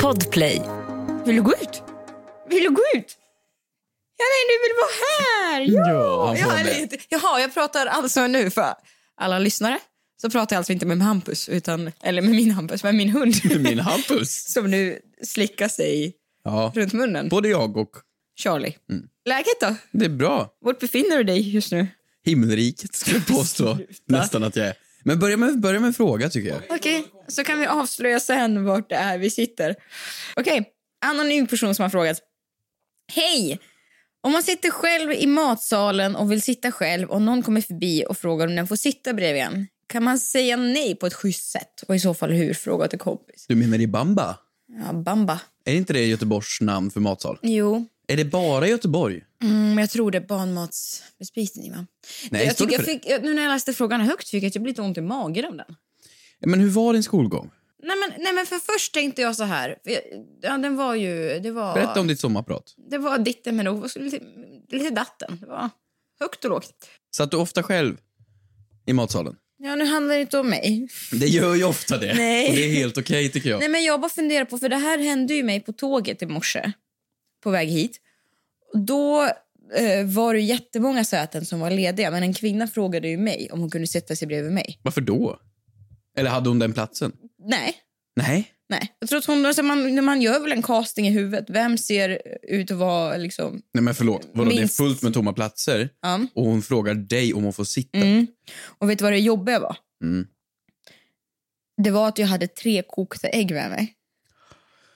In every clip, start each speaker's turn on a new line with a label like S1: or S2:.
S1: Podplay.
S2: Vill du gå ut? Vill du gå ut? Ja, nej, du vill vara här!
S3: Ja, han får
S2: Ja,
S3: det.
S2: eller inte. Jaha, jag pratar alltså nu för alla lyssnare. Så pratar jag alltså inte med Hampus, utan, eller med min Hampus, men min hund.
S3: Min Hampus.
S2: Som nu slickar sig
S3: Ja,
S2: runt munnen.
S3: både jag och...
S2: Charlie. Läget då?
S3: Det är bra.
S2: Vart befinner du dig just nu?
S3: Himmelriket skulle jag påstå nästan att jag är. Men börja med, börja med en fråga tycker jag.
S2: Okej, så kan vi avslöja sen vart det är vi sitter. Okej, anonym person som har frågat. Hej! Om man sitter själv i matsalen och vill sitta själv och någon kommer förbi och frågar om den får sitta bredvid en, kan man säga nej på ett schysst sätt? Och i så fall hur? Fråga till kompis.
S3: Du menar i Bamba?
S2: Ja, bamba.
S3: Är inte det Göteborgs namn för matsal?
S2: Jo,
S3: Är det bara Göteborg?
S2: mm, jag tror det är barnmatsbespisning, va?
S3: Nej,
S2: jag
S3: står
S2: tycker
S3: det
S2: jag
S3: för det?
S2: fick, jag- nu när jag läste frågan högt fick jag typ lite ont i magen av den.
S3: Men hur var din skolgång?
S2: Nej men, nej men för först tänkte jag så här. för jag- Ja, den var ju... Det var...
S3: Berätta om ditt sommarprat.
S2: Det var ditten men nog lite, lite datten. Det var högt och lågt.
S3: Satt du ofta själv i matsalen?
S2: Ja, nu handlar det inte om mig.
S3: Det gör ju ofta det.
S2: Nej.
S3: Och det är helt okej tycker jag.
S2: Nej, men jag bara funderar på, för det här hände ju mig på tåget i morse på väg hit. Då eh, var det jättemånga säten som var lediga, men en kvinna frågade ju mig om hon kunde sätta sig bredvid mig.
S3: Varför då? Eller hade hon den platsen?
S2: Nej,
S3: Nej.
S2: nej. Jag tror att hon, alltså man, när man gör väl en casting i huvudet, vem ser ut att vara liksom...
S3: Nej men förlåt. Vadå, det är
S2: Minst.
S3: fullt med tomma platser
S2: Ja.
S3: och hon frågar dig om hon får sitta.
S2: Mm. Och vet du vad det jobbiga var?
S3: Mm.
S2: Det var att jag hade tre kokta ägg med mig.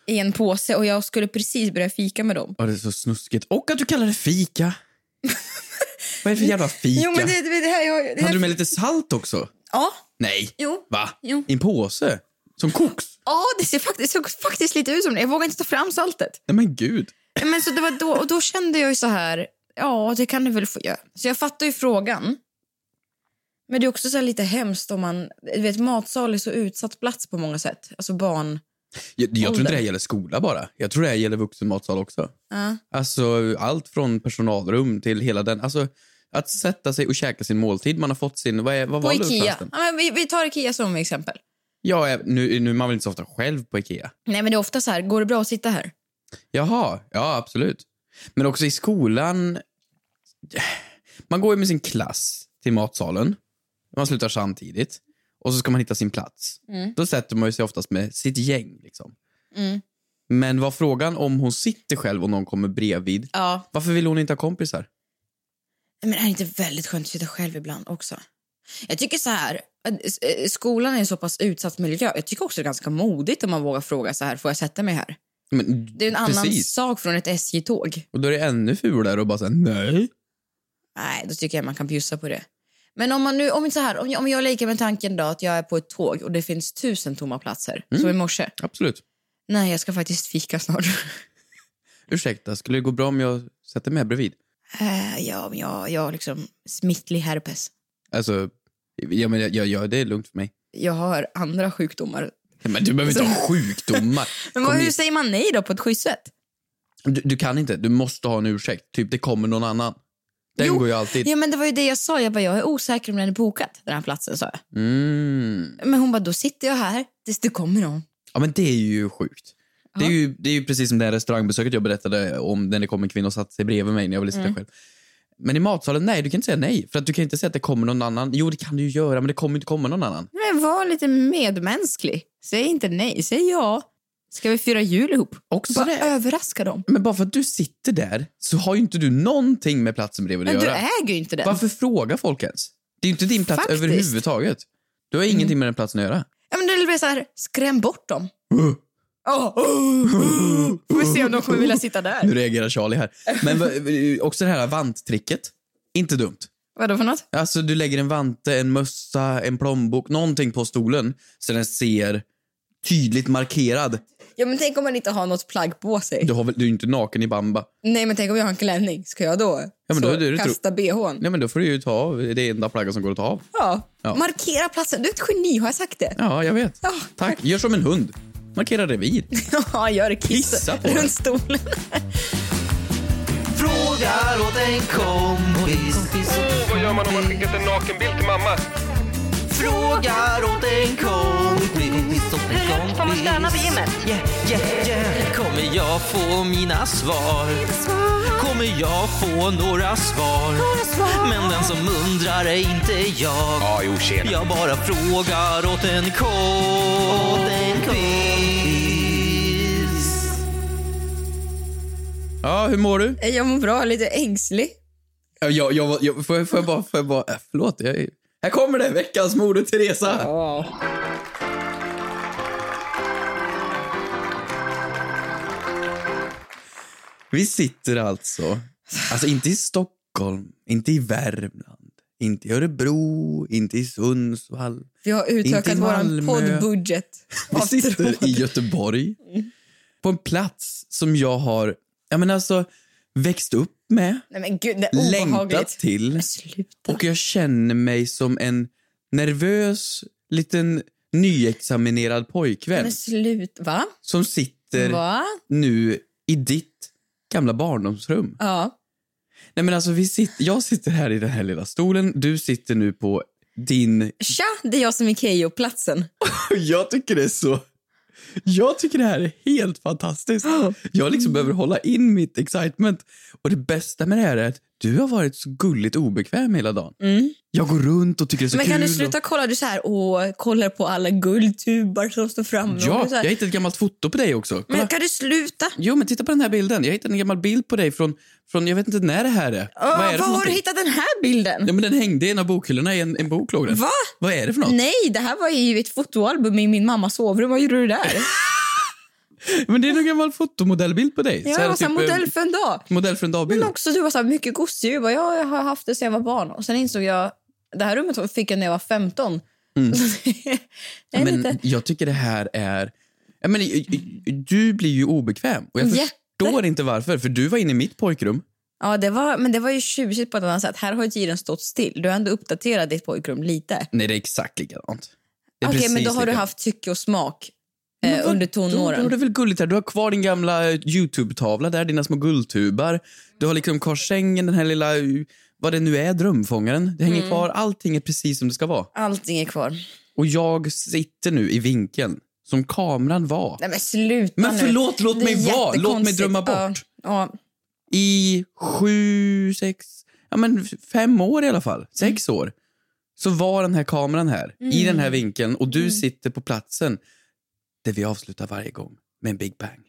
S2: I en påse och jag skulle precis börja fika med dem.
S3: Ja, det är så snuskigt. Och att du kallar det fika. Vad är det för jävla fika?
S2: Jo men det, det, det här... Jag, det här
S3: Hade du med lite salt också?
S2: Ja,
S3: Nej.
S2: jo.
S3: Va?
S2: Jo.
S3: I en påse? Som koks?
S2: Ja, det ser faktiskt, såg faktiskt lite ut som det. Jag vågar inte ta fram saltet.
S3: Nej men gud.
S2: Men så det var då, och då kände jag ju så här, ja det kan du väl få göra. Så jag fattar ju frågan. Men det är också så här lite hemskt om man, du vet matsal är så utsatt plats på många sätt. Alltså barn.
S3: Jag, jag tror
S2: Ålder.
S3: inte det här gäller skola bara. Jag tror det här gäller vuxenmatsal också.
S2: Ja.
S3: Alltså allt från personalrum till hela den. Alltså att sätta sig och käka sin måltid. Man har fått sin, vad, är, vad
S2: På
S3: var det
S2: Ikea. Ja,
S3: förresten?
S2: men vi, vi tar Ikea som exempel.
S3: Ja, eh, nu, nu är man väl inte så ofta själv på Ikea.
S2: Nej men det är ofta så här, går det bra att sitta här?
S3: Jaha, ja absolut. Men också i skolan. Man går ju med sin klass till matsalen. Man slutar samtidigt. Och så ska man hitta sin plats.
S2: Mm.
S3: Då sätter man ju sig oftast med sitt gäng. Liksom.
S2: Mm.
S3: Men var frågan om hon sitter själv och någon kommer bredvid.
S2: Ja.
S3: Varför vill hon inte ha kompisar?
S2: Men det är det inte väldigt skönt att sitta själv ibland också? Jag tycker så här, att, s- eh, skolan är en så pass utsatt miljö. Jag tycker också det är ganska modigt om man vågar fråga så här, får jag sätta mig här?
S3: Men,
S2: Det är en annan
S3: Precis.
S2: sak från ett SJ-tåg.
S3: Och då är det ännu fulare att bara säga nej.
S2: Nej, då tycker jag man kan bjussa på det. Men om man nu, om, så här, om, jag, om jag leker med tanken då att jag är på ett tåg och det finns tusen tomma platser, som
S3: Mm.
S2: i morse.
S3: Absolut.
S2: Nej, jag ska faktiskt fika snart.
S3: Ursäkta, skulle det gå bra om jag sätter mig här bredvid?
S2: Eh, ja, men jag, jag har liksom smittlig herpes.
S3: Alltså, ja, men, jag- jag ja, det är lugnt för mig.
S2: Jag har andra sjukdomar.
S3: Men du behöver inte ha sjukdomar.
S2: Men
S3: Kom
S2: vad,
S3: hit.
S2: hur säger man nej då på ett schysst sätt?
S3: Du, du kan inte. Du måste ha en ursäkt. Typ, det kommer någon annan. Den
S2: Jo.
S3: går ju alltid.
S2: Ja, men det var ju det jag sa. Jag bara, jag är osäker om den är bokad, den här platsen, sa jag.
S3: Mm.
S2: Men hon bara, då sitter jag här tills det kommer någon.
S3: Ja, men det är ju sjukt. Det är
S2: Ja.
S3: ju, det är ju precis som det här restaurangbesöket jag berättade om när det kom en kvinna och satte sig bredvid mig när jag ville
S2: Mm.
S3: sitta själv. Men i matsalen, nej, du kan inte säga nej. För att du kan inte säga att det kommer någon annan. Jo, det kan du ju göra, men det kommer inte komma någon annan.
S2: Men var lite medmänsklig. Säg inte nej, säg ja. Ska vi fira jul ihop?
S3: Också
S2: Bara
S3: det.
S2: överraska dem.
S3: Men bara för att du sitter där så har ju inte du någonting med platsen bredvid att
S2: Men du
S3: göra.
S2: äger ju inte den.
S3: Varför fråga folk ens? Det är ju inte din plats
S2: Faktiskt.
S3: överhuvudtaget. Du har ingenting med den platsen att göra.
S2: Ja, men det blir så här, skräm bort dem.
S3: Uh.
S2: Oh, Får vi se om de kommer vilja sitta
S3: Nu
S2: där.
S3: reagerar Charlie här. Men va- också det här vanttricket. Inte dumt.
S2: Vadå för något?
S3: Alltså du lägger en vante, en mössa, en plånbok, någonting på stolen så den ser tydligt markerad.
S2: Ja, men tänk om man inte har något plagg på sig.
S3: Du, har väl, du är ju inte naken i bamba.
S2: Nej, men tänk om jag har en klänning. Ska jag då,
S3: Ja, men då
S2: så
S3: är det- det tror-
S2: kasta bhn?
S3: Nej men då får du ju ta av det enda plagget som går att ta av.
S2: Ja.
S3: Ja.
S2: Markera platsen. Du är ett geni, har jag sagt det?
S3: Ja, jag vet.
S2: Ja.
S3: Tack. Gör som en hund. Markera revir.
S2: Ja, gör det.
S3: Kissa på den.
S2: runt stolen.
S4: Frågar åt en kompis.
S5: Vad gör man om man skickat en nakenbild till mamma?
S1: Frågar åt en kompis. Åt en kompis.
S4: Får man stöna på gymmet?
S1: Yeah, yeah, yeah. Kommer jag få mina svar? Kommer jag få några svar? Men den som undrar är inte jag.
S5: Ja, jo, tjena.
S1: Jag bara frågar åt en kompis.
S3: Ja, hur mår du?
S2: Jag mår bra, lite ängslig.
S3: Ja, Jag, jag, var- jag, får, jag, får jag bara... Får jag bara äh, förlåt. Jag, är- här kommer det, veckans Moder Teresa. Vi sitter alltså... Alltså inte i Stockholm, inte i Värmland, inte i Örebro, inte i Sundsvall.
S2: Vi har
S3: Inte i
S2: utökat vår
S3: Malmö.
S2: poddbudget.
S3: Vi
S2: av tråd.
S3: sitter i Göteborg
S2: Mm.
S3: på en plats som jag har jag menar alltså, växt upp med,
S2: Nej men gud, det är
S3: längtat
S2: obehagligt.
S3: till.
S2: Men sluta.
S3: Och jag känner mig som en nervös liten nyexaminerad pojkvän
S2: Men slut. Va?
S3: som sitter
S2: Va?
S3: nu i ditt gamla barndomsrum.
S2: Ja.
S3: Nej men alltså vi sitter, jag sitter här i den här lilla stolen, du sitter nu på din...
S2: Tja, det är jag som är Keyyo-platsen.
S3: Jag tycker det är så... Jag tycker det här är helt fantastiskt. Jag liksom behöver hålla in mitt excitement. Och det bästa med det här är att du har varit så gulligt obekväm hela dagen.
S2: Mm.
S3: Jag går runt och tycker det är så
S2: Men
S3: kul.
S2: kan du
S3: och-
S2: sluta kolla? Du så här, och kollar på alla guldtubar som står framme. och
S3: Ja,
S2: du så
S3: jag
S2: här,
S3: hittade ett gammalt foto på dig också. Kolla.
S2: Men kan du sluta?
S3: Jo, men titta på den här bilden. Jag hittade en gammal bild på dig från, från jag vet inte när det här är.
S2: Åh,
S3: Vad är
S2: var har
S3: det för
S2: du
S3: någonting?
S2: hittat den här bilden?
S3: Ja, men den hängde i en av bokhyllorna i en, en bok låg den.
S2: Va?
S3: Vad är det för något?
S2: Nej, det här var ju ett fotoalbum i min mammas sovrum. Vad gjorde du där?
S3: Men det är en gammal fotomodellbild på dig.
S2: Ja,
S3: Så här
S2: jag var så här,
S3: typ,
S2: modell
S3: eh,
S2: för en dag.
S3: modell för en dagbild.
S2: Men också du var så här, mycket gosedjur. Jag bara, Ja, jag har haft det sedan jag var barn. Och sen insåg jag, det här rummet fick jag när jag var 15. Så det är
S3: Ja, Mm. men
S2: lite...
S3: jag tycker det här är... Ja, men, i- i- du blir ju obekväm. Och jag
S2: Jätte.
S3: förstår inte varför, för du var inne i mitt pojkrum.
S2: Ja, det var, men det var ju tjusigt på ett annat sätt. Här har ju tiden stått still. Du har ändå uppdaterat ditt pojkrum lite.
S3: Nej, det är exakt likadant. Det är
S2: Okej, men
S3: precis
S2: då har du
S3: likadant.
S2: haft tycke och smak
S3: Men
S2: eh,
S3: vad-
S2: under
S3: Då, då är det
S2: tonåren.
S3: väl gulligt här. Du har kvar din gamla eh, Youtube-tavla där, dina små guldtubar. Du har liksom kvar sängen, den här lilla, uh, vad det nu är, drömfångaren. Det hänger
S2: Mm.
S3: kvar. Allting är precis som det ska vara.
S2: Allting är kvar.
S3: Och jag sitter nu i vinkeln som kameran var.
S2: Nej, men sluta
S3: Men
S2: nu.
S3: förlåt, låt
S2: Det är
S3: mig vara. Låt mig
S2: jättekonstigt.
S3: drömma
S2: Ja,
S3: bort.
S2: ja.
S3: I sju, sex, ja men f- fem år i alla fall. Sex
S2: Mm.
S3: år. Så var den här kameran här, i den här vinkeln. Och du
S2: Mm.
S3: sitter på platsen där vi avslutar varje gång med en big bang.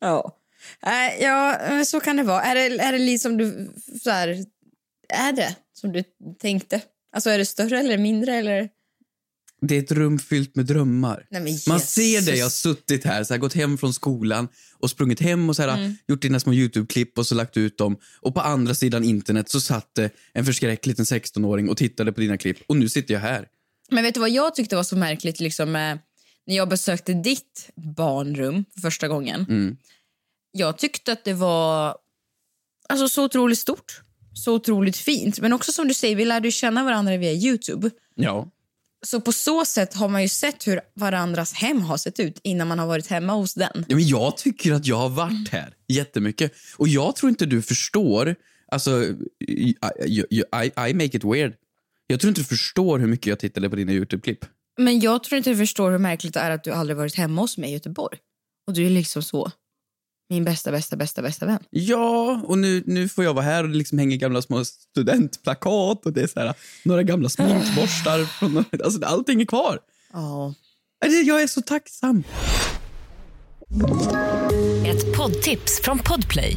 S2: Ja. Nej, ja, men så kan det vara. Är det, är det liksom du... Så här, är det som du tänkte? Alltså är det större eller mindre eller?
S3: Det är ett rum fyllt med drömmar.
S2: Nej, men
S3: Man
S2: Jesus.
S3: ser dig, jag har suttit här, så här, gått hem från skolan och sprungit hem och så
S2: Mm.
S3: här, gjort dina små YouTube-klipp och så lagt ut dem. Och på andra sidan internet så satt det en förskräcklig liten 16-åring och tittade på dina klipp. Och nu sitter jag här.
S2: Men vet du vad jag tyckte var så märkligt liksom, eh, när jag besökte ditt barnrum för första gången?
S3: Mm.
S2: Jag tyckte att det var alltså, så otroligt stort, så otroligt fint. Men också som du säger, vi lärde ju känna varandra via Youtube.
S3: Ja.
S2: Så på så sätt har man ju sett hur varandras hem har sett ut innan man har varit hemma hos den.
S3: ja men jag tycker att jag har
S2: Mm.
S3: varit här jättemycket. Och jag tror inte du förstår, alltså, I, I, I, I make it weird. Jag tror inte du förstår hur mycket jag tittade på dina YouTube-klipp.
S2: Men jag tror inte du förstår hur märkligt det är att du aldrig varit hemma hos mig i Göteborg. Och du är liksom så, min bästa, bästa, bästa, bästa vän.
S3: Ja, och nu, nu får jag vara här och det liksom hänger gamla små studentplakat och det är så här, några gamla sminkborstar. Från, alltså, allting är kvar.
S2: Ja.
S3: Alltså, Jag är så tacksam.
S6: Ett poddtips från Podplay.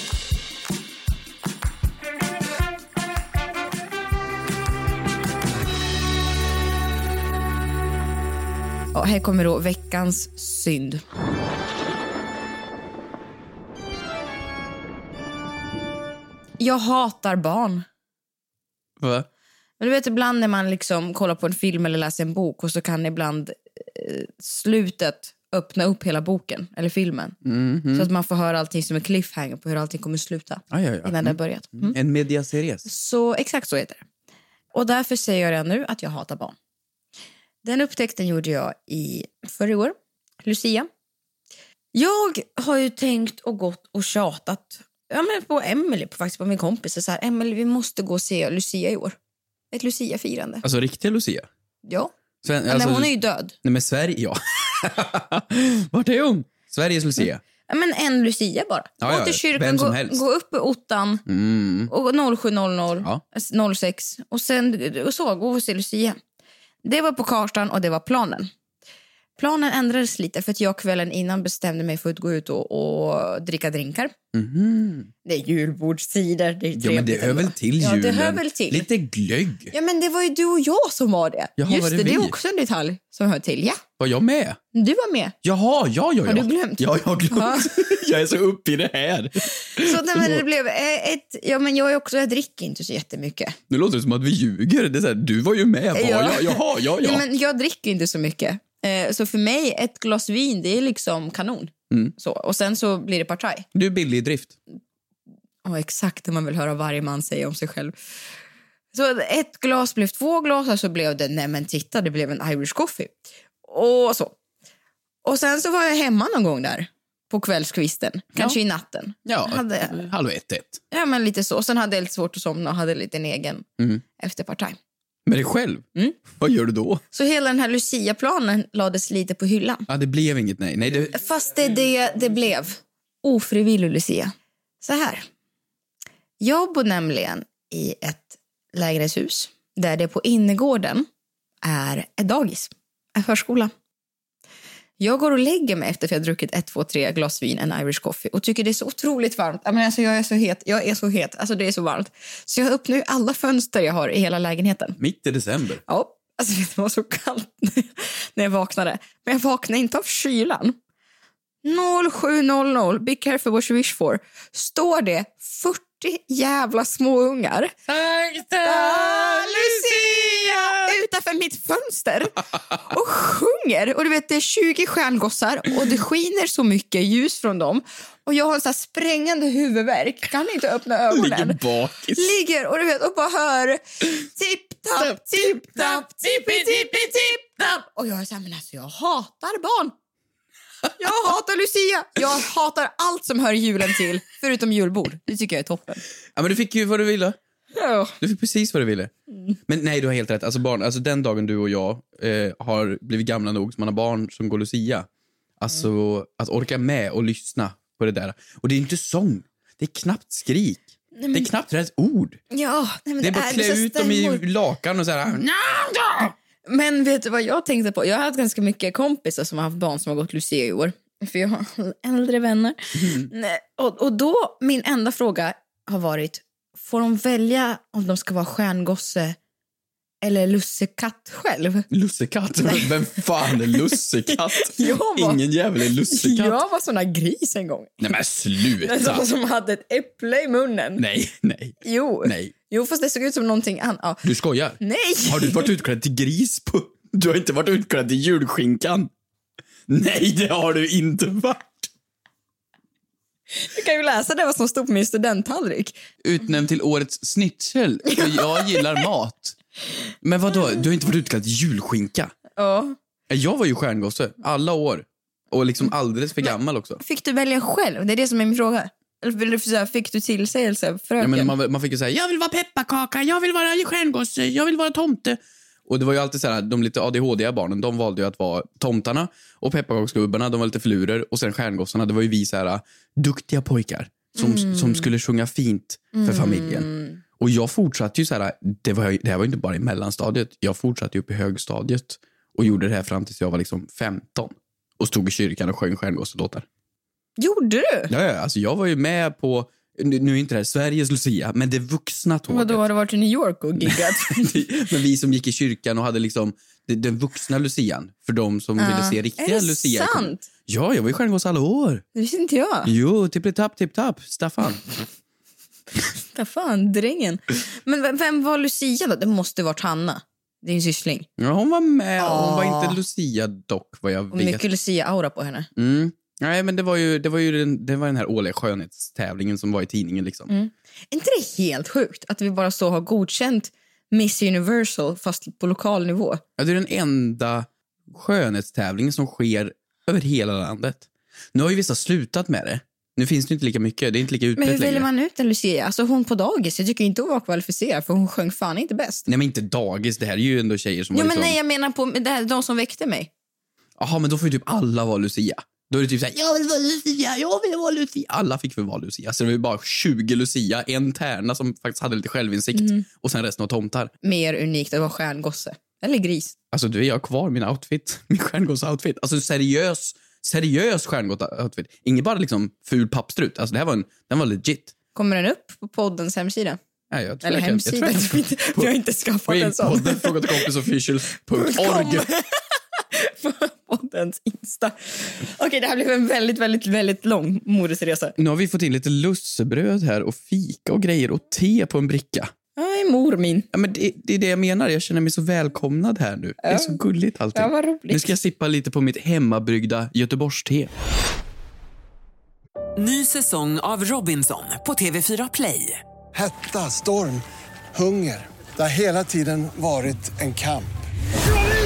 S2: Ja, här kommer då veckans synd. Jag hatar barn.
S3: Va?
S2: Men du vet ibland när man liksom kollar på en film eller läser en bok och så kan ibland eh, slutet öppna upp hela boken eller filmen. Så att man får höra allting som en cliffhanger på hur allting kommer sluta
S3: Aj, aj, aj.
S2: innan det har börjat. Mm.
S3: En mediaseries.
S2: Så exakt så heter det. Och därför säger jag redan nu att jag hatar barn. Den upptäckten gjorde jag i förra år, Lucia. Jag har ju tänkt och gått och tjatat ja, men på Emily, på, faktiskt på min kompis. Så här, Emily, vi måste gå och se Lucia i år. Ett Lucia-firande.
S3: Alltså riktiga Lucia.
S2: Ja,
S3: Sven,
S2: men
S3: alltså,
S2: hon är ju död.
S3: Nej men Sverige, ja. Vart är hon? Sveriges Lucia.
S2: Ja, Men en Lucia bara.
S3: Ja,
S2: gå
S3: ja,
S2: till kyrkan,
S3: vem som
S2: gå,
S3: helst.
S2: gå upp i ottan
S3: Mm.
S2: och 07.00,
S3: Ja.
S2: 06 och sen och så, gå och se Lucia. Det var på kartan och det var planen. Planen ändrades lite för att jag kvällen innan bestämde mig för att gå ut och, och dricka drinkar.
S3: Mhm.
S2: Det är julbordstider, det är
S3: Ja men det
S2: trevligt
S3: hör väl
S2: ändå.
S3: till
S2: Ja,
S3: julen.
S2: det hör väl till.
S3: Lite glögg.
S2: Ja, men det var ju du och jag som var det.
S3: Jaha,
S2: Just
S3: var det
S2: det, det är
S3: vi?
S2: också en detalj som hör till. Ja,
S3: Var jag med?
S2: du var med.
S3: Jaha, ja, ja, ja.
S2: Har du glömt?
S3: Ja, jag har glömt. jag är så uppe i det här.
S2: Så det, men det blev eh, ett... Ja, men jag, är också, jag dricker inte så jättemycket.
S3: Nu låter det som att vi ljuger. Det är så här, du var ju med. Var
S2: Ja.
S3: jag? Jaha, ja, ja.
S2: Nej, men jag dricker inte så mycket. Eh, så för mig, ett glas vin, det är liksom kanon.
S3: Mm.
S2: Så. Och sen så blir det partaj.
S3: Du är billig i drift.
S2: Ja, exakt det man vill höra varje man säga om sig själv. Så ett glas blev två glas och så blev det, nej men titta, det blev en Irish coffee. Och så. Och sen så var jag hemma någon gång där på kvällskvisten, kanske i natten.
S3: Ja,
S2: Hade-
S3: halv ett, ett.
S2: Ja, men lite så. Sen hade jag lite svårt att somna och hade lite en egen
S3: Mm.
S2: efterpartaj.
S3: Med dig själv?
S2: Mm.
S3: Vad gör du då?
S2: Så hela den här Lucia-planen lades lite på hyllan.
S3: Ja, det blev inget nej. nej det,
S2: Fast det är det det blev. Ofrivillig Lucia. Så här. Jag bor nämligen i ett lägenhetshus där det på innergården är ett dagis, en förskola. Jag går och lägger mig efter att jag har druckit ett, två, tre glas vin, en Irish coffee och tycker det är så otroligt varmt. Ja, Men alltså, jag är så het, jag är så het, alltså det är så varmt. Så jag öppnar ju alla fönster jag har i hela lägenheten.
S3: mitt i december.
S2: Ja, alltså vet du, det var så kallt när jag vaknade. Men jag vaknade inte av kylan. 07.00, be careful what you wish for, står det 40 jävla småungar
S3: Sankta Lucia!
S2: utanför mitt fönster och sjunger. Och du vet, det är 20 stjärngossar och det skiner så mycket ljus från dem. Och jag har en så här sprängande huvudvärk, kan inte öppna
S3: Ligger
S2: ögonen.
S3: bakis.
S2: ligger och du vet och bara hör tipp tapp tipp tapp tippi tippi tipp tapp och jag är så här, men alltså jag hatar barn. Jag hatar Lucia. Jag hatar allt som hör julen till förutom julbord. Det tycker jag är toppen.
S3: Ja, men du fick ju vad du ville.
S2: Ja.
S3: Du fick precis vad du ville. Men nej, du har helt rätt. Alltså, barn, alltså den dagen du och jag eh, har blivit gamla nog, som man har barn som går Lucia, alltså att orka med och lyssna på det där. Och det är inte sång. Det är knappt skrik. Det är knappt rätt ord.
S2: Ja, nej, men
S3: Det är bara att klä
S2: så
S3: ut dem i
S2: stämmor.
S3: lakan och så här...
S2: Men vet du vad jag tänkte på? Jag har haft ganska mycket kompisar som har haft barn som har gått Lucia i år. För jag har äldre vänner.
S3: Mm.
S2: Nej, Och, och då, min enda fråga har varit, får de välja om de ska vara stjärngosse eller lussekatt själv?
S3: Lussekatt? Vem fan är lussekatt?
S2: Jag var-
S3: Ingen jävel är lussekatt.
S2: Jag var sån där gris en gång.
S3: Nej men
S2: En
S3: sluta!
S2: sån som hade ett äpple i munnen.
S3: Nej, nej,
S2: Jo.
S3: nej.
S2: jo, fast det såg ut som någonting annat. Ja.
S3: Du skojar?
S2: Nej!
S3: Har du varit utklädd till gris? På... Du har inte varit utklädd till julskinkan? Nej, det har du inte varit!
S2: Du kan ju läsa det vad som stod på min studenttallrik.
S3: Utnämnd till årets snitsel, för jag gillar mat. Men vad då? du har inte varit utklädd till julskinka?
S2: Ja.
S3: Jag var ju stjärngosse, alla år. Och liksom alldeles för gammal också.
S2: Fick du välja själv? Det är det som är min fråga. Eller vill du säga, Fick du tillsägelse av
S3: Ja,
S2: fröken?
S3: men man, man fick ju säga jag vill vara pepparkaka, jag vill vara stjärngosse, jag vill vara tomte. Och det var ju alltid så här, de lite ADHD-iga barnen, de valde ju att vara tomtarna och pepparkaksgubbarna, de var lite filurer och sen stjärngossarna, det var ju vi så här duktiga pojkar som, som skulle sjunga fint
S2: Mm.
S3: för familjen. Och jag fortsatte ju så här, det, var, ju- det här var ju inte bara i mellanstadiet, jag fortsatte ju upp i högstadiet och gjorde det här fram tills jag var liksom 15 och stod i kyrkan och sjöng stjärngosselåtar.
S2: Gjorde du?
S3: Ja, ja, alltså jag var ju med på, nu nu är inte det här Sveriges Lucia, men det vuxna tåget.
S2: Vadå, har du varit i New York och giggat?
S3: Mm, men vi som gick i kyrkan och hade liksom det- den vuxna lucian, för de som ville se riktiga
S2: Är det
S3: lucia. Mm.
S2: sant? Ah.
S3: Ja, jag var ju stjärngosse alla år.
S2: Det visste inte jag.
S3: Jo, tippelitapp, tipptapp, Staffan.
S2: Ta fan, drängen. Men vem, vem var Lucia då? Det måste varit Hanna, din syssling.
S3: Ja, hon var med. Hon var
S2: Ja.
S3: inte Lucia dock, vad jag
S2: Och
S3: vet.
S2: mycket Lucia-aura på henne.
S3: Mm. Nej, men det var ju, det var ju den, det var den här årliga skönhetstävlingen som var i tidningen.
S2: Mm.
S3: Liksom.
S2: Är inte det helt sjukt att vi bara så har godkänt Miss Universal fast på lokal nivå?
S3: Ja, det är den enda skönhetstävlingen som sker över hela landet. Nu har ju vissa slutat med det. Nu finns det inte lika mycket. Det är inte lika
S2: Men hur
S3: utbrett längre.
S2: väljer man ut en Lucia? Alltså hon på dagis, jag tycker inte hon var kvalificerad för hon sjöng fan inte bäst.
S3: Nej, men inte dagis. Det här är ju ändå tjejer som
S2: Ja,
S3: var
S2: men
S3: liksom...
S2: nej, jag menar på det här, de som väckte mig.
S3: Jaha, men då får ju typ alla vara Lucia. Då är det typ såhär, jag vill vara Lucia, jag vill vara Lucia. Alla fick väl vara Lucia. Så det var ju bara 20 Lucia, en tärna som faktiskt hade lite självinsikt
S2: Mhm.
S3: och sen resten var tomtar.
S2: Mer unikt att vara stjärngosse. Eller gris.
S3: Alltså du, jag har kvar min outfit. Min stjärngås-outfit. Alltså seriös, seriös stjärngås-outfit. Ingen bara liksom ful pappstrut. Alltså det här var en, den var legit.
S2: Kommer den upp på poddens hemsida?
S3: Nej, jag tror
S2: Eller
S3: jag kan-
S2: hemsida?
S3: Jag tror jag
S2: Vi har inte skaffat en
S3: kan- Gå
S2: sån.
S3: in på fråga till kompisofficial.org.
S2: På poddens Insta. Okej, det här blev en väldigt, väldigt, väldigt lång modersresa.
S3: Nu har vi fått in lite lussebröd här och fika och grejer och te på en bricka.
S2: Aj, mor min.
S3: Ja, men det, det är det jag menar. Jag känner mig så välkomnad här nu. Det är så gulligt allting.
S2: Ja, vad roligt.
S3: nu ska jag sippa lite på mitt hemmabryggda Göteborgste.
S4: Ny säsong av Robinson på TV4 Play.
S5: Hetta, storm, hunger. Det har hela tiden varit en kamp.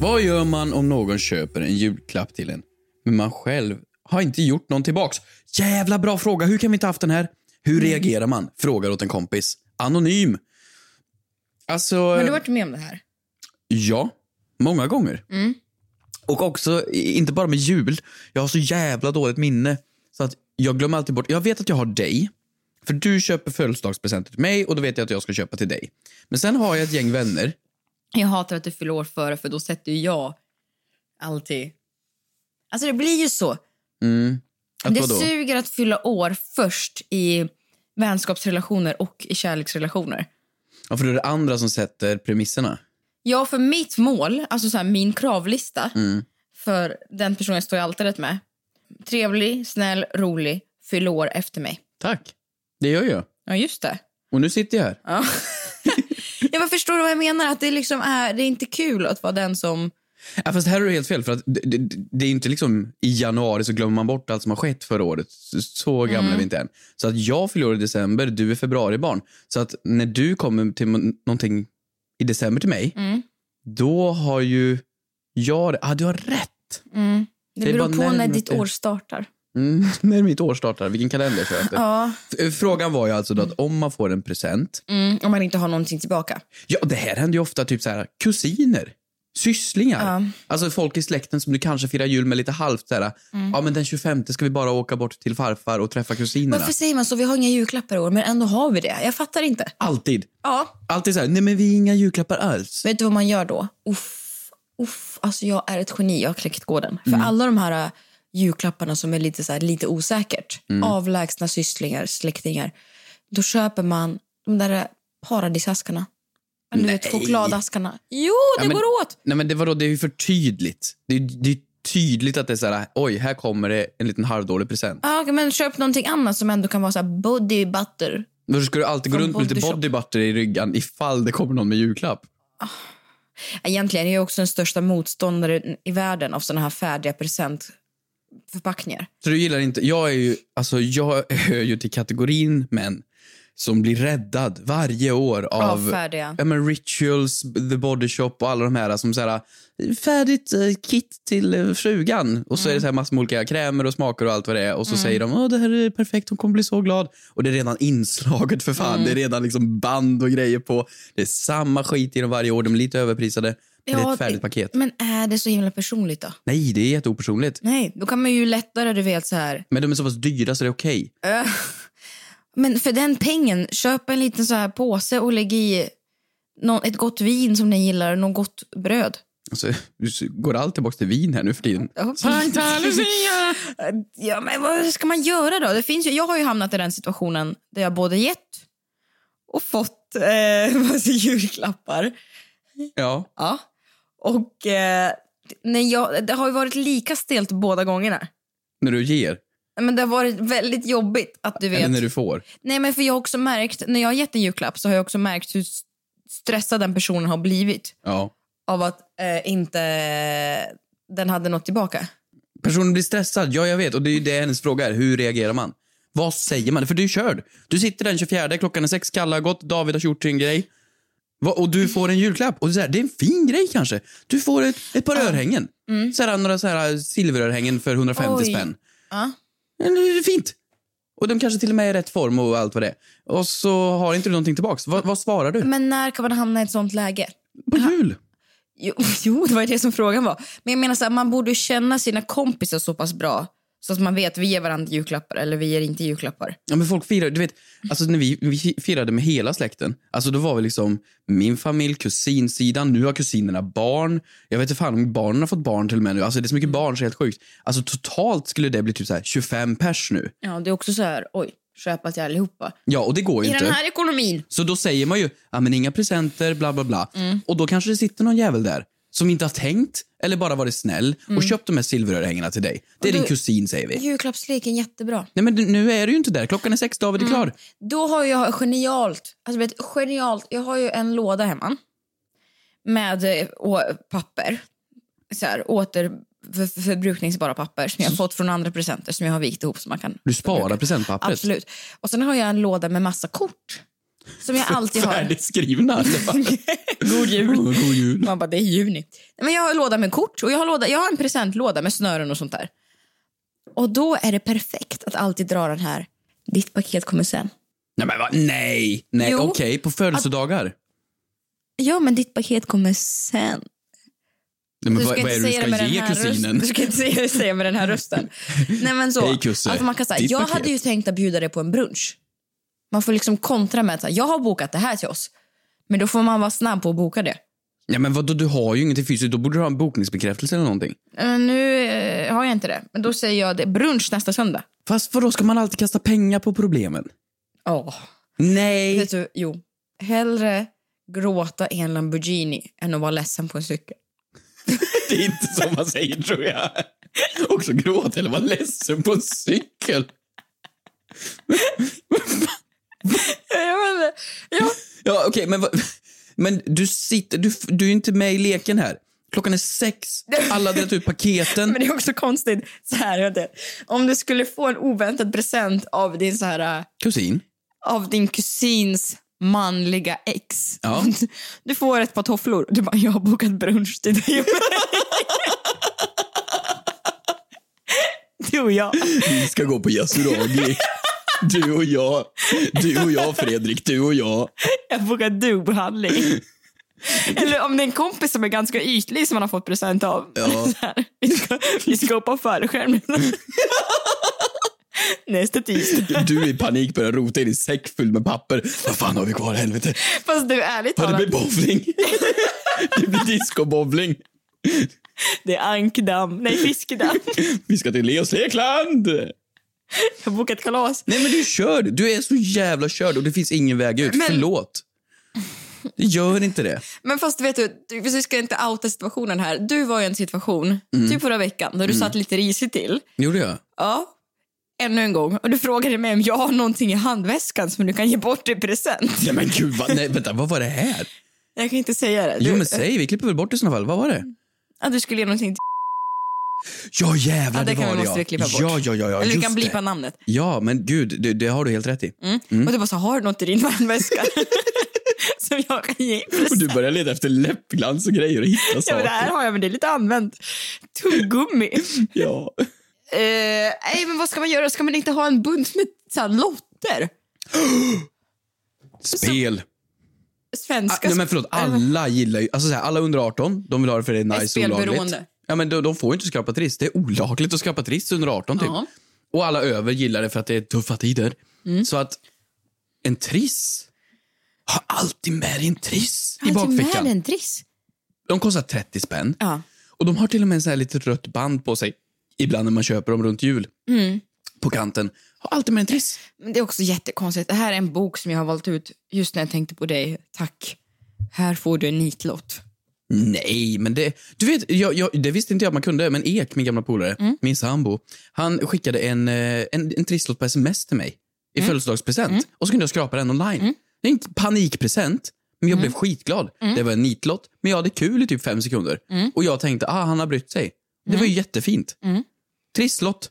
S3: Vad gör man om någon köper en julklapp till en, men man själv har inte gjort någon tillbaks? Jävla bra fråga! Hur kan vi inte haft den här?
S2: Mm.
S3: Hur reagerar man? Frågar åt en kompis. Anonym. Alltså...
S2: Har du varit med om det här?
S3: Ja, många gånger.
S2: Mm.
S3: Och också, i- inte bara med jul, jag har så jävla dåligt minne. Så att jag glömmer alltid bort, jag vet att jag har dig. För du köper födelsedagspresenter till mig och då vet jag att jag ska köpa till dig. Men sen har jag ett gäng vänner.
S2: Jag hatar att du fyller år före, för då sätter ju jag alltid... Alltså det blir ju så.
S3: Mm. Att
S2: det
S3: vadå?
S2: suger att fylla år först i vänskapsrelationer och i kärleksrelationer.
S3: Ja, för då är det andra som sätter premisserna.
S2: Ja, för mitt mål, alltså så här, min kravlista
S3: Mm.
S2: för den personen jag står i altaret med. Trevlig, snäll, rolig, fyller år efter mig.
S3: Tack. Det gör jag.
S2: Ja, just det.
S3: Och nu sitter jag här.
S2: Ja. jag bara förstår du vad jag menar? Att det, liksom är, det är inte kul att vara den som...
S3: Ja, fast här är du helt fel. För att det, det, det är inte liksom i januari så glömmer man bort allt som har skett förra året. Så- Så gamla
S2: Mm.
S3: är vi inte än. Så att jag fyller år i december, du är februaribarn. Så att när du kommer till mon- någonting i december till mig,
S2: Mm.
S3: då har ju jag... Ah, du har rätt!
S2: Det,
S3: Det är
S2: beror
S3: bara
S2: på när,
S3: närmare
S2: ditt
S3: till.
S2: år startar.
S3: Mm, när mitt år startar, vilken kalender jag köpte.
S2: Ja.
S3: F- Frågan var ju alltså då att om man får en present.
S2: Mm, om man inte har någonting tillbaka.
S3: Ja, det här händer ju ofta typ så här, kusiner, sysslingar.
S2: Ja.
S3: Alltså folk i släkten som du kanske firar jul med lite halvt. Så här,
S2: Mm.
S3: Ja, men den 25 ska vi bara åka bort till farfar och träffa kusinerna.
S2: Varför säger man så? Vi har inga julklappar i år, men ändå har vi det. Jag fattar inte.
S3: Alltid.
S2: Ja.
S3: Alltid så här, nej men vi har inga julklappar alls.
S2: Vet du vad man gör då? Uff, uff. Alltså jag är ett geni, jag har kläckt koden.
S3: Mm.
S2: För alla de här äh, julklapparna som är lite, så här, lite osäkert,
S3: Mm.
S2: avlägsna sysslingar, släktingar, då köper man de där äh, paradisaskarna. Men Du vet,
S3: Nej.
S2: chokladaskarna. Jo, det
S3: Ja, men-
S2: går åt!
S3: Nej men det, vadå, det är ju för tydligt. Det är, det är tydligt att det är så här, oj, här kommer det en liten halvdålig present.
S2: Ja, men köp någonting annat som ändå kan vara så här body butter.
S3: Då ska du alltid gå
S2: Från
S3: runt med lite
S2: Body Shop.
S3: body butter i ryggen ifall det kommer någon med julklapp.
S2: Egentligen är jag också den största motståndaren i världen av såna här färdiga presentförpackningar.
S3: Så du gillar inte, jag är ju, alltså jag hör ju till kategorin män som blir räddad varje år av
S2: Avfärdiga.
S3: ja, men Rituals, The Body Shop och alla de här som så här, färdigt eh, kit till eh, frugan. Och så är det så här massor med olika krämer och smaker och allt vad det är. Och så säger de att det här är perfekt, hon kommer bli så glad. Och det är redan inslaget för fan. Det är redan liksom band och grejer på. Det är samma skit i dem varje år. De är lite överprisade. Men det är ett färdigt paket.
S2: Men är det så himla personligt då?
S3: Nej, det är jätteopersonligt.
S2: Nej, då kan man ju lättare, du vet så här.
S3: Men de är så pass dyra så det är okej.
S2: Öh. Men för den pengen, köp en liten så här påse och lägg i någon, ett gott vin som ni gillar och något gott bröd.
S3: Alltså, nu går allt tillbaka till vin här nu för tiden.
S2: ja, men vad ska man göra då? Det finns ju, jag har ju hamnat i den situationen där jag både gett och fått eh, massa julklappar.
S3: Ja.
S2: Ja. Och eh, när jag, det har ju varit lika stelt båda gångerna.
S3: När du ger.
S2: Men det har varit väldigt jobbigt att du
S3: Eller
S2: vet.
S3: när du får.
S2: Nej, men för jag har också märkt, när jag har gett en julklapp så har jag också märkt hur s- stressad den personen har blivit
S3: Ja.
S2: av att eh, inte den hade något tillbaka.
S3: Personen blir stressad, ja jag vet. Och det är ju det hennes fråga är. Hur reagerar man? Vad säger man? För du är körd. Du sitter den 24, klockan är sex, Kalle har gått, David har gjort sin grej. Va- Och du får en julklapp. Och det är, så här, det är en fin grej kanske. Du får ett, ett par örhängen. Så här, några så här äh, silverörhängen för 150
S2: Mm. Oj.
S3: spänn.
S2: Ja.
S3: Men det är Fint! Och de kanske till och med är i rätt form och allt vad det är. Och så har inte du någonting tillbaks. Vad, vad svarar du?
S2: Men när kan man hamna i ett sånt läge?
S3: På jul?
S2: Jo, jo, det var ju det som frågan var. Men jag menar så här, man borde ju känna sina kompisar så pass bra så att man vet vi ger varandra julklappar eller vi ger inte julklappar.
S3: Ja, men folk firar, du vet, alltså när vi, vi firade med hela släkten, alltså då var vi liksom min familj, kusinsidan, nu har kusinerna barn. Jag vet inte fan om barnen har fått barn till och med nu. Alltså det är så mycket barn så det är helt sjukt. Alltså totalt skulle det bli typ så här 25 pers nu.
S2: Ja, det är också så här, oj, köpa till allihopa.
S3: Ja, och det går ju
S2: I
S3: inte.
S2: den här ekonomin.
S3: Så då säger man ju, ja men inga presenter, bla bla bla.
S2: Mm.
S3: Och då kanske det sitter någon jävel där som inte har tänkt eller bara varit snäll
S2: Mm.
S3: och köpt de här silverörhängena till dig. Det är din kusin säger vi.
S2: Julklappsleken, jättebra.
S3: Nej men du- nu är du ju inte där, klockan är sex,
S2: Mm.
S3: David är klar.
S2: Då har jag genialt, alltså vet, du, genialt, jag har ju en låda hemma med eh, å- papper. Så här, åter för- förbrukningsbara papper som jag har fått från andra presenter som jag har vikt ihop så man kan
S3: Du sparar presentpappret.
S2: Absolut. Och sen har jag en låda med massa kort. Som jag alltid har.
S3: Färdigskrivna. God jul. God jul.
S2: Man bara, det är juni. Nej, Men jag har en låda med kort och jag har, låda, jag har en presentlåda med snören och sånt där. Och då är det perfekt att alltid dra den här. Ditt paket kommer sen.
S3: Nej, men va? Nej, nej
S2: Jo.
S3: okej. På födelsedagar.
S2: Ja, men ditt paket kommer sen.
S3: Nej, men
S2: Du
S3: vad,
S2: ska
S3: vad är
S2: inte
S3: det du
S2: säga det med
S3: ska
S2: den
S3: ge
S2: här
S3: kusinen?
S2: rösten. Du ska inte säga- säga med den här rösten. Nej, men så.
S3: Hej, kusse.
S2: Alltså, man kan säga,
S3: Ditt
S2: jag
S3: paket.
S2: hade ju tänkt att bjuda dig på en brunch. Man får liksom kontra med att så här, jag har bokat det här till oss. Men då får man vara snabb på att boka det.
S3: Ja, men vadå, du har ju ingenting fysiskt. Då borde du ha en bokningsbekräftelse eller någonting.
S2: Eh, nu eh, har jag inte det, men då säger jag det. Brunch nästa söndag.
S3: Fast vadå, ska man alltid kasta pengar på problemen?
S2: Oh.
S3: Nej.
S2: Vet du, jo. Hellre gråta i en Lamborghini än att vara ledsen på en cykel.
S3: Det är inte så man säger tror jag. Också gråta eller vara ledsen på en cykel.
S2: Jag vet inte. Ja.
S3: Ja, okej, men, vad- men du sitter, du, du är ju inte med i leken här. Klockan är sex, alla har delat ut paketen.
S2: Men det är också konstigt, så här, vet du. om du skulle få en oväntad present av din, så här, eh,
S3: Kusin.
S2: av din kusins manliga ex.
S3: Ja.
S2: Du får ett par tofflor. Du bara, jag har bokat brunch till dig. du och jag.
S3: Vi ska gå på Yasuragi. Du och jag. Du och jag, Fredrik. Du och jag.
S2: Jag bokar du-behandling. Eller om det är en kompis som är ganska ytlig som man har fått present av. Så här, vi, ska, vi ska hoppa fallskärm. Nästa tisdag.
S3: Du i panik börjar rota i din säck fylld med papper. Vad fan har vi kvar? Helvete.
S2: Fast du, ärligt
S3: Ja, det
S2: talat,
S3: blir bowling. Det blir discobowling.
S2: det är ankdamm. Nej, fiskedamm.
S3: Vi ska till Leos Lekland.
S2: Jag har bokat kalas.
S3: Nej, men du är körd. Du är så jävla körd och det finns ingen väg ut.
S2: Men-
S3: Förlåt. Det gör inte det.
S2: Men fast vet du, du- vi ska inte outa situationen här. Du var ju i en situation,
S3: Mm.
S2: typ förra veckan, när du satt lite risigt till.
S3: Gjorde jag?
S2: Ja. Ännu en gång. Och du frågade mig om jag har någonting i handväskan som du kan ge bort i present.
S3: Nej, men gud. Vad, nej, vänta. Vad var det här?
S2: Jag kan inte säga det. Du,
S3: Jo, men säg. Vi klipper väl bort i såna fall. Vad var det?
S2: att du skulle ge någonting till
S3: Ja jävlar,
S2: Ja, det
S3: det,
S2: kan vi-
S3: var det
S2: måste vi klippa bort.
S3: Ja, ja, ja, ja
S2: Eller du
S3: just
S2: kan
S3: det.
S2: blipa namnet.
S3: Ja, men gud, det, det har du helt rätt i.
S2: Mm. Och du bara, så har du något i din handväska som jag kan ge i present?
S3: Och du börjar leta efter läppglans och grejer och hitta
S2: Ja, men det här har jag, men det är lite använt. Tuggummi.
S3: Ja.
S2: Eh, nej, men vad ska man göra? Ska man inte ha en bunt med så här, lotter?
S3: Spel. Ah,
S2: Svenska
S3: nej men förlåt, alla gillar ju, alltså så här, alla under 18, de vill ha det för det är
S2: Är
S3: nice och
S2: spelberoende.
S3: olagligt. Ja men de, de får ju inte skrapa trist, det är olagligt att skrapa trist under 18 typ.
S2: Ja. Mm.
S3: Och alla över gillar det för att det är tuffa tider. Så att en triss, ha alltid med dig en triss i
S2: Alltid
S3: bakfickan.
S2: med en driss.
S3: De kostar 30 spänn.
S2: Ja.
S3: Och de har till och med en sån här litet rött band på sig ibland när man köper dem runt jul. På kanten. Ha alltid med en triss.
S2: Men det är också jättekonstigt. Det här är en bok som jag har valt ut just när jag tänkte på dig. Tack. Här får du en nitlott.
S3: Nej, men det... Du vet, jag, jag, det visste inte jag att man kunde, men Ek, min gamla polare, min sambo, han skickade en, eh, en, en trisslott på sms till mig i födelsedagspresent. Och så kunde jag skrapa den online. Det är en panikpresent, men jag blev skitglad. Det var en nitlott, men jag hade kul i typ fem sekunder. Och jag tänkte, ah, han har brytt sig. Det var ju jättefint. Trisslott,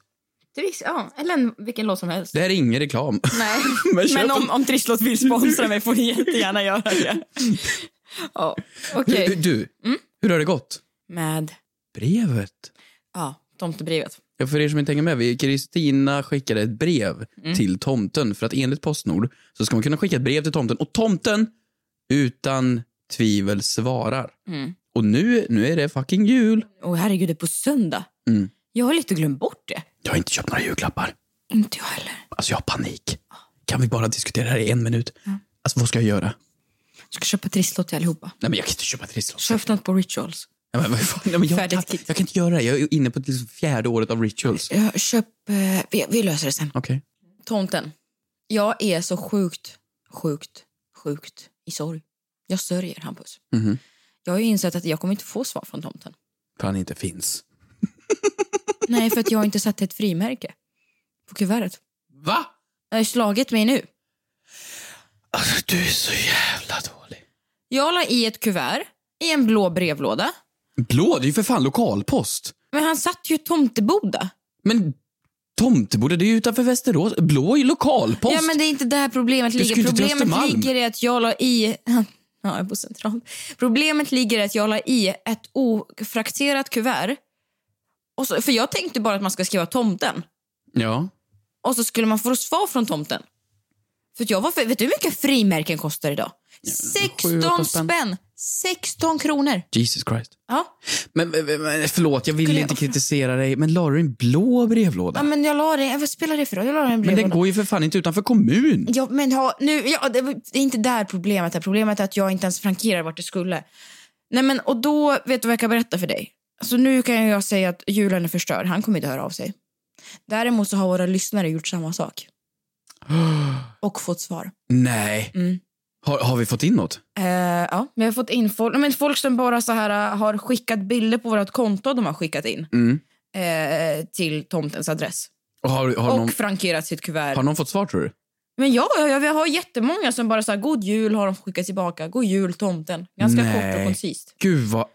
S2: Driss, ja. Eller en, vilken låt som helst.
S3: det här är ingen reklam.
S2: Nej.
S3: Men köp
S2: Men om,
S3: en-
S2: om Trisslott vill sponsra mig får ni jättegärna göra det. Ja, okej.
S3: Hur- Du, hur har det gått?
S2: Med
S3: Brevet.
S2: ja, tomtebrevet.
S3: Ja, för er som inte hänger med, vi- Kristina skickade ett brev till tomten. För att enligt Postnord så ska man kunna skicka ett brev till tomten och tomten utan tvivel svarar. Och nu, nu är det fucking jul.
S2: Och herregud, det är på söndag.
S3: Mm.
S2: Jag har lite glömt bort det.
S3: Jag har inte köpt några julklappar.
S2: Inte jag heller.
S3: Alltså jag har panik. Kan vi bara diskutera det här i en minut? Alltså vad ska jag göra?
S2: Jag ska köpa trisslott till allihopa.
S3: Nej men jag kan inte köpa trisslotter.
S2: Köp något på rituals.
S3: Nej, men, vad fan? Nej, men jag,
S2: Färdigt
S3: kan,
S2: kit.
S3: jag kan inte göra det. Jag är inne på det liksom fjärde året av rituals.
S2: Ja, Köp... Eh, vi, vi löser det sen.
S3: Okej.
S2: Tomten. Jag är så sjukt, sjukt, sjukt i sorg. Jag sörjer Hampus.
S3: Mhm.
S2: Jag har ju insett att jag kommer inte få svar från tomten.
S3: För han inte finns.
S2: Nej, för att jag har inte satt ett frimärke på kuvertet.
S3: Va?
S2: Jag har ju slagit mig nu.
S3: Alltså du är så jävla dålig.
S2: Jag la i ett kuvert i en blå brevlåda.
S3: Blå, det är ju för fan lokalpost.
S2: Men han satt ju i Tomteboda.
S3: Men Tomteboda, det är ju utanför Västerås. Blå är ju lokalpost.
S2: Ja, men det är inte där problemet
S3: Du skulle
S2: ligger.
S3: inte till
S2: Problemet
S3: Östermalm.
S2: ligger i att jag la i... Ja, jag är på central. Problemet ligger i att jag la i ett ofrakterat kuvert. Och så, för jag tänkte bara att man ska skriva tomten.
S3: ja.
S2: Och så skulle man få svar från tomten. För att jag var för, vet du hur mycket frimärken kostar idag?
S3: sju, åtta
S2: 16
S3: spänn.
S2: spänn! 16 kronor.
S3: Jesus Christ.
S2: Ja.
S3: Men, men, men förlåt, jag ville
S2: Skulle
S3: inte
S2: jag-
S3: kritisera dig, men la du en blå brevlåda?
S2: ja, men jag la det... Vad spelar det för roll? Jag la det i en
S3: men den
S2: brevlåda.
S3: går ju för fan inte utanför kommun.
S2: Ja, men ha, nu, ja, det var- det är inte där problemet är. Problemet är att jag inte ens frankerar vart det skulle. Nej, men, och då, vet du vad jag kan berätta för dig? Alltså, nu kan jag säga att julen är förstörd. Han kommer inte höra av sig. Däremot så har våra lyssnare gjort samma sak. Och fått svar.
S3: Nej.
S2: Mm.
S3: Har, har vi fått in något?
S2: Eh, ja, vi har fått in folk, men folk som bara så här eh, har skickat bilder på vårt konto de har skickat in
S3: Mm.
S2: eh, till tomtens adress.
S3: Och har, har,
S2: Och
S3: någon,
S2: frankerat sitt kuvert.
S3: har någon fått svar tror du?
S2: Men ja, jag, jag har jättemånga som bara säger god jul har de skickat tillbaka. God jul tomten. Ganska
S3: Nej.
S2: kort och koncist.
S3: Gud vad...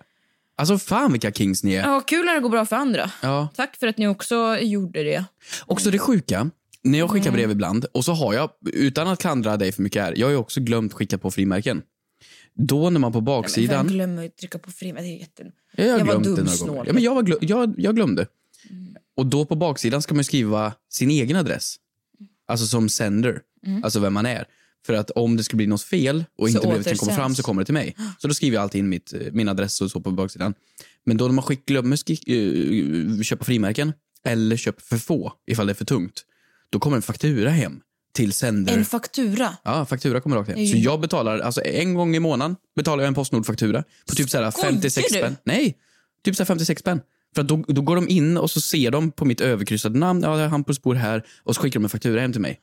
S3: Alltså fan vilka kings ni är.
S2: Ja, kul när det går bra för andra.
S3: Ja.
S2: Tack för att ni också gjorde det.
S3: Också det sjuka, när jag skickar brev ibland och så har jag, utan att klandra dig för mycket här, jag har ju också glömt skicka på frimärken. Då när man på
S2: Jag
S3: baksidan...
S2: glömmer att trycka på frimärken. Det är jätte...
S3: Jag, har
S2: Jag var
S3: glömt det
S2: dum
S3: några
S2: snål.
S3: gånger. Ja, men jag, var glö- jag, jag glömde. Och då på baksidan ska man ju skriva sin egen adress. Alltså som sender. Alltså vem man är. För att om det skulle bli något fel och
S2: Mm. Så
S3: inte brevet kommer
S2: återsänds.
S3: fram så kommer det till mig. Så då skriver jag alltid in mitt, eh, min adress och så på baksidan. Men då när man skick, glömmer skick, eh, köpa frimärken eller köp för få ifall det är för tungt. Då kommer en faktura hem till sender.
S2: En faktura.
S3: Ja, faktura kommer rakt hem.
S2: Det är ju-
S3: Så jag betalar, alltså en gång i månaden betalar jag en Postnord-faktura på typ såhär
S2: Skojar
S3: 56
S2: du?
S3: spänn. Nej, typ såhär 56 spänn. För att då, då går de in och så ser de på mitt överkryssade namn, ja, Hampus bor här, och så skickar de en faktura hem till mig.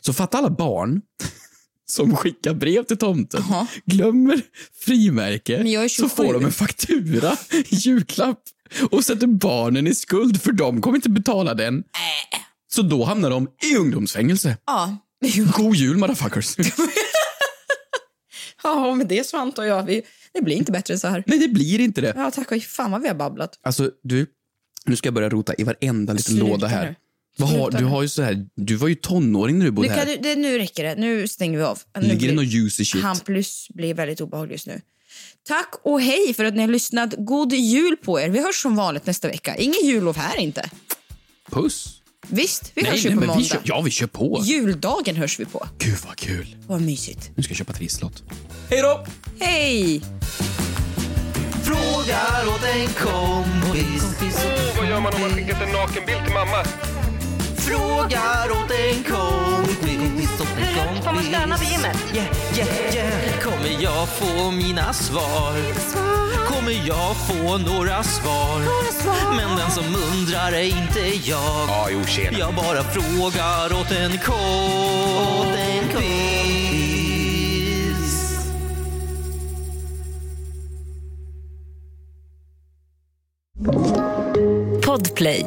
S3: Så fatta alla barn som skickar brev till tomten,
S2: Jaha.
S3: glömmer frimärke,
S2: Men jag är
S3: så
S2: 27.
S3: får de en faktura i julklapp och sätter barnen i skuld för de kommer inte betala den.
S2: Äh.
S3: Så då hamnar de i ungdomsfängelse.
S2: Ja.
S3: God jul motherfuckers.
S2: ja, med det Svante och jag, vi, det blir inte bättre än så här.
S3: Nej, det blir inte det.
S2: Ja, tack och fan vad vi har babblat.
S3: Alltså, du, Nu ska jag börja rota i varenda liten
S2: Sluta
S3: låda
S2: nu.
S3: här. Vad har,
S2: Sluta
S3: du,
S2: nu.
S3: har ju så här, du var ju tonåring när du
S2: Nu,
S3: bodde
S2: kan
S3: här.
S2: du, det, nu räcker det. Nu stänger vi av. Nu
S3: Ligger det
S2: blir-
S3: någon juicy shit?
S2: Hampus blir väldigt obehaglig just nu. Tack och hej för att ni har lyssnat. God jul på er. Vi hörs som vanligt nästa vecka. Ingen jullov här inte.
S3: Puss!
S2: Visst, vi hörs
S3: Nej,
S2: ju
S3: nej,
S2: på
S3: men
S2: måndag.
S3: vi kör, ja, vi kör på.
S2: Juldagen hörs vi på.
S3: Gud vad kul.
S2: Vad mysigt.
S3: Nu ska jag köpa trisslott.
S2: Hej!
S1: Frågar åt en kompis.
S7: Vad gör man om man skickat en nakenbild till mamma?
S1: Frågar åt en kompis. Hur högt får man stöna på gymmet? Yeah, yeah, yeah. Kommer jag få mina svar? Kommer jag få några svar? Men den som undrar är inte jag.
S7: Ja, jo, tjena.
S1: Jag bara frågar åt en kompis.
S6: Podplay.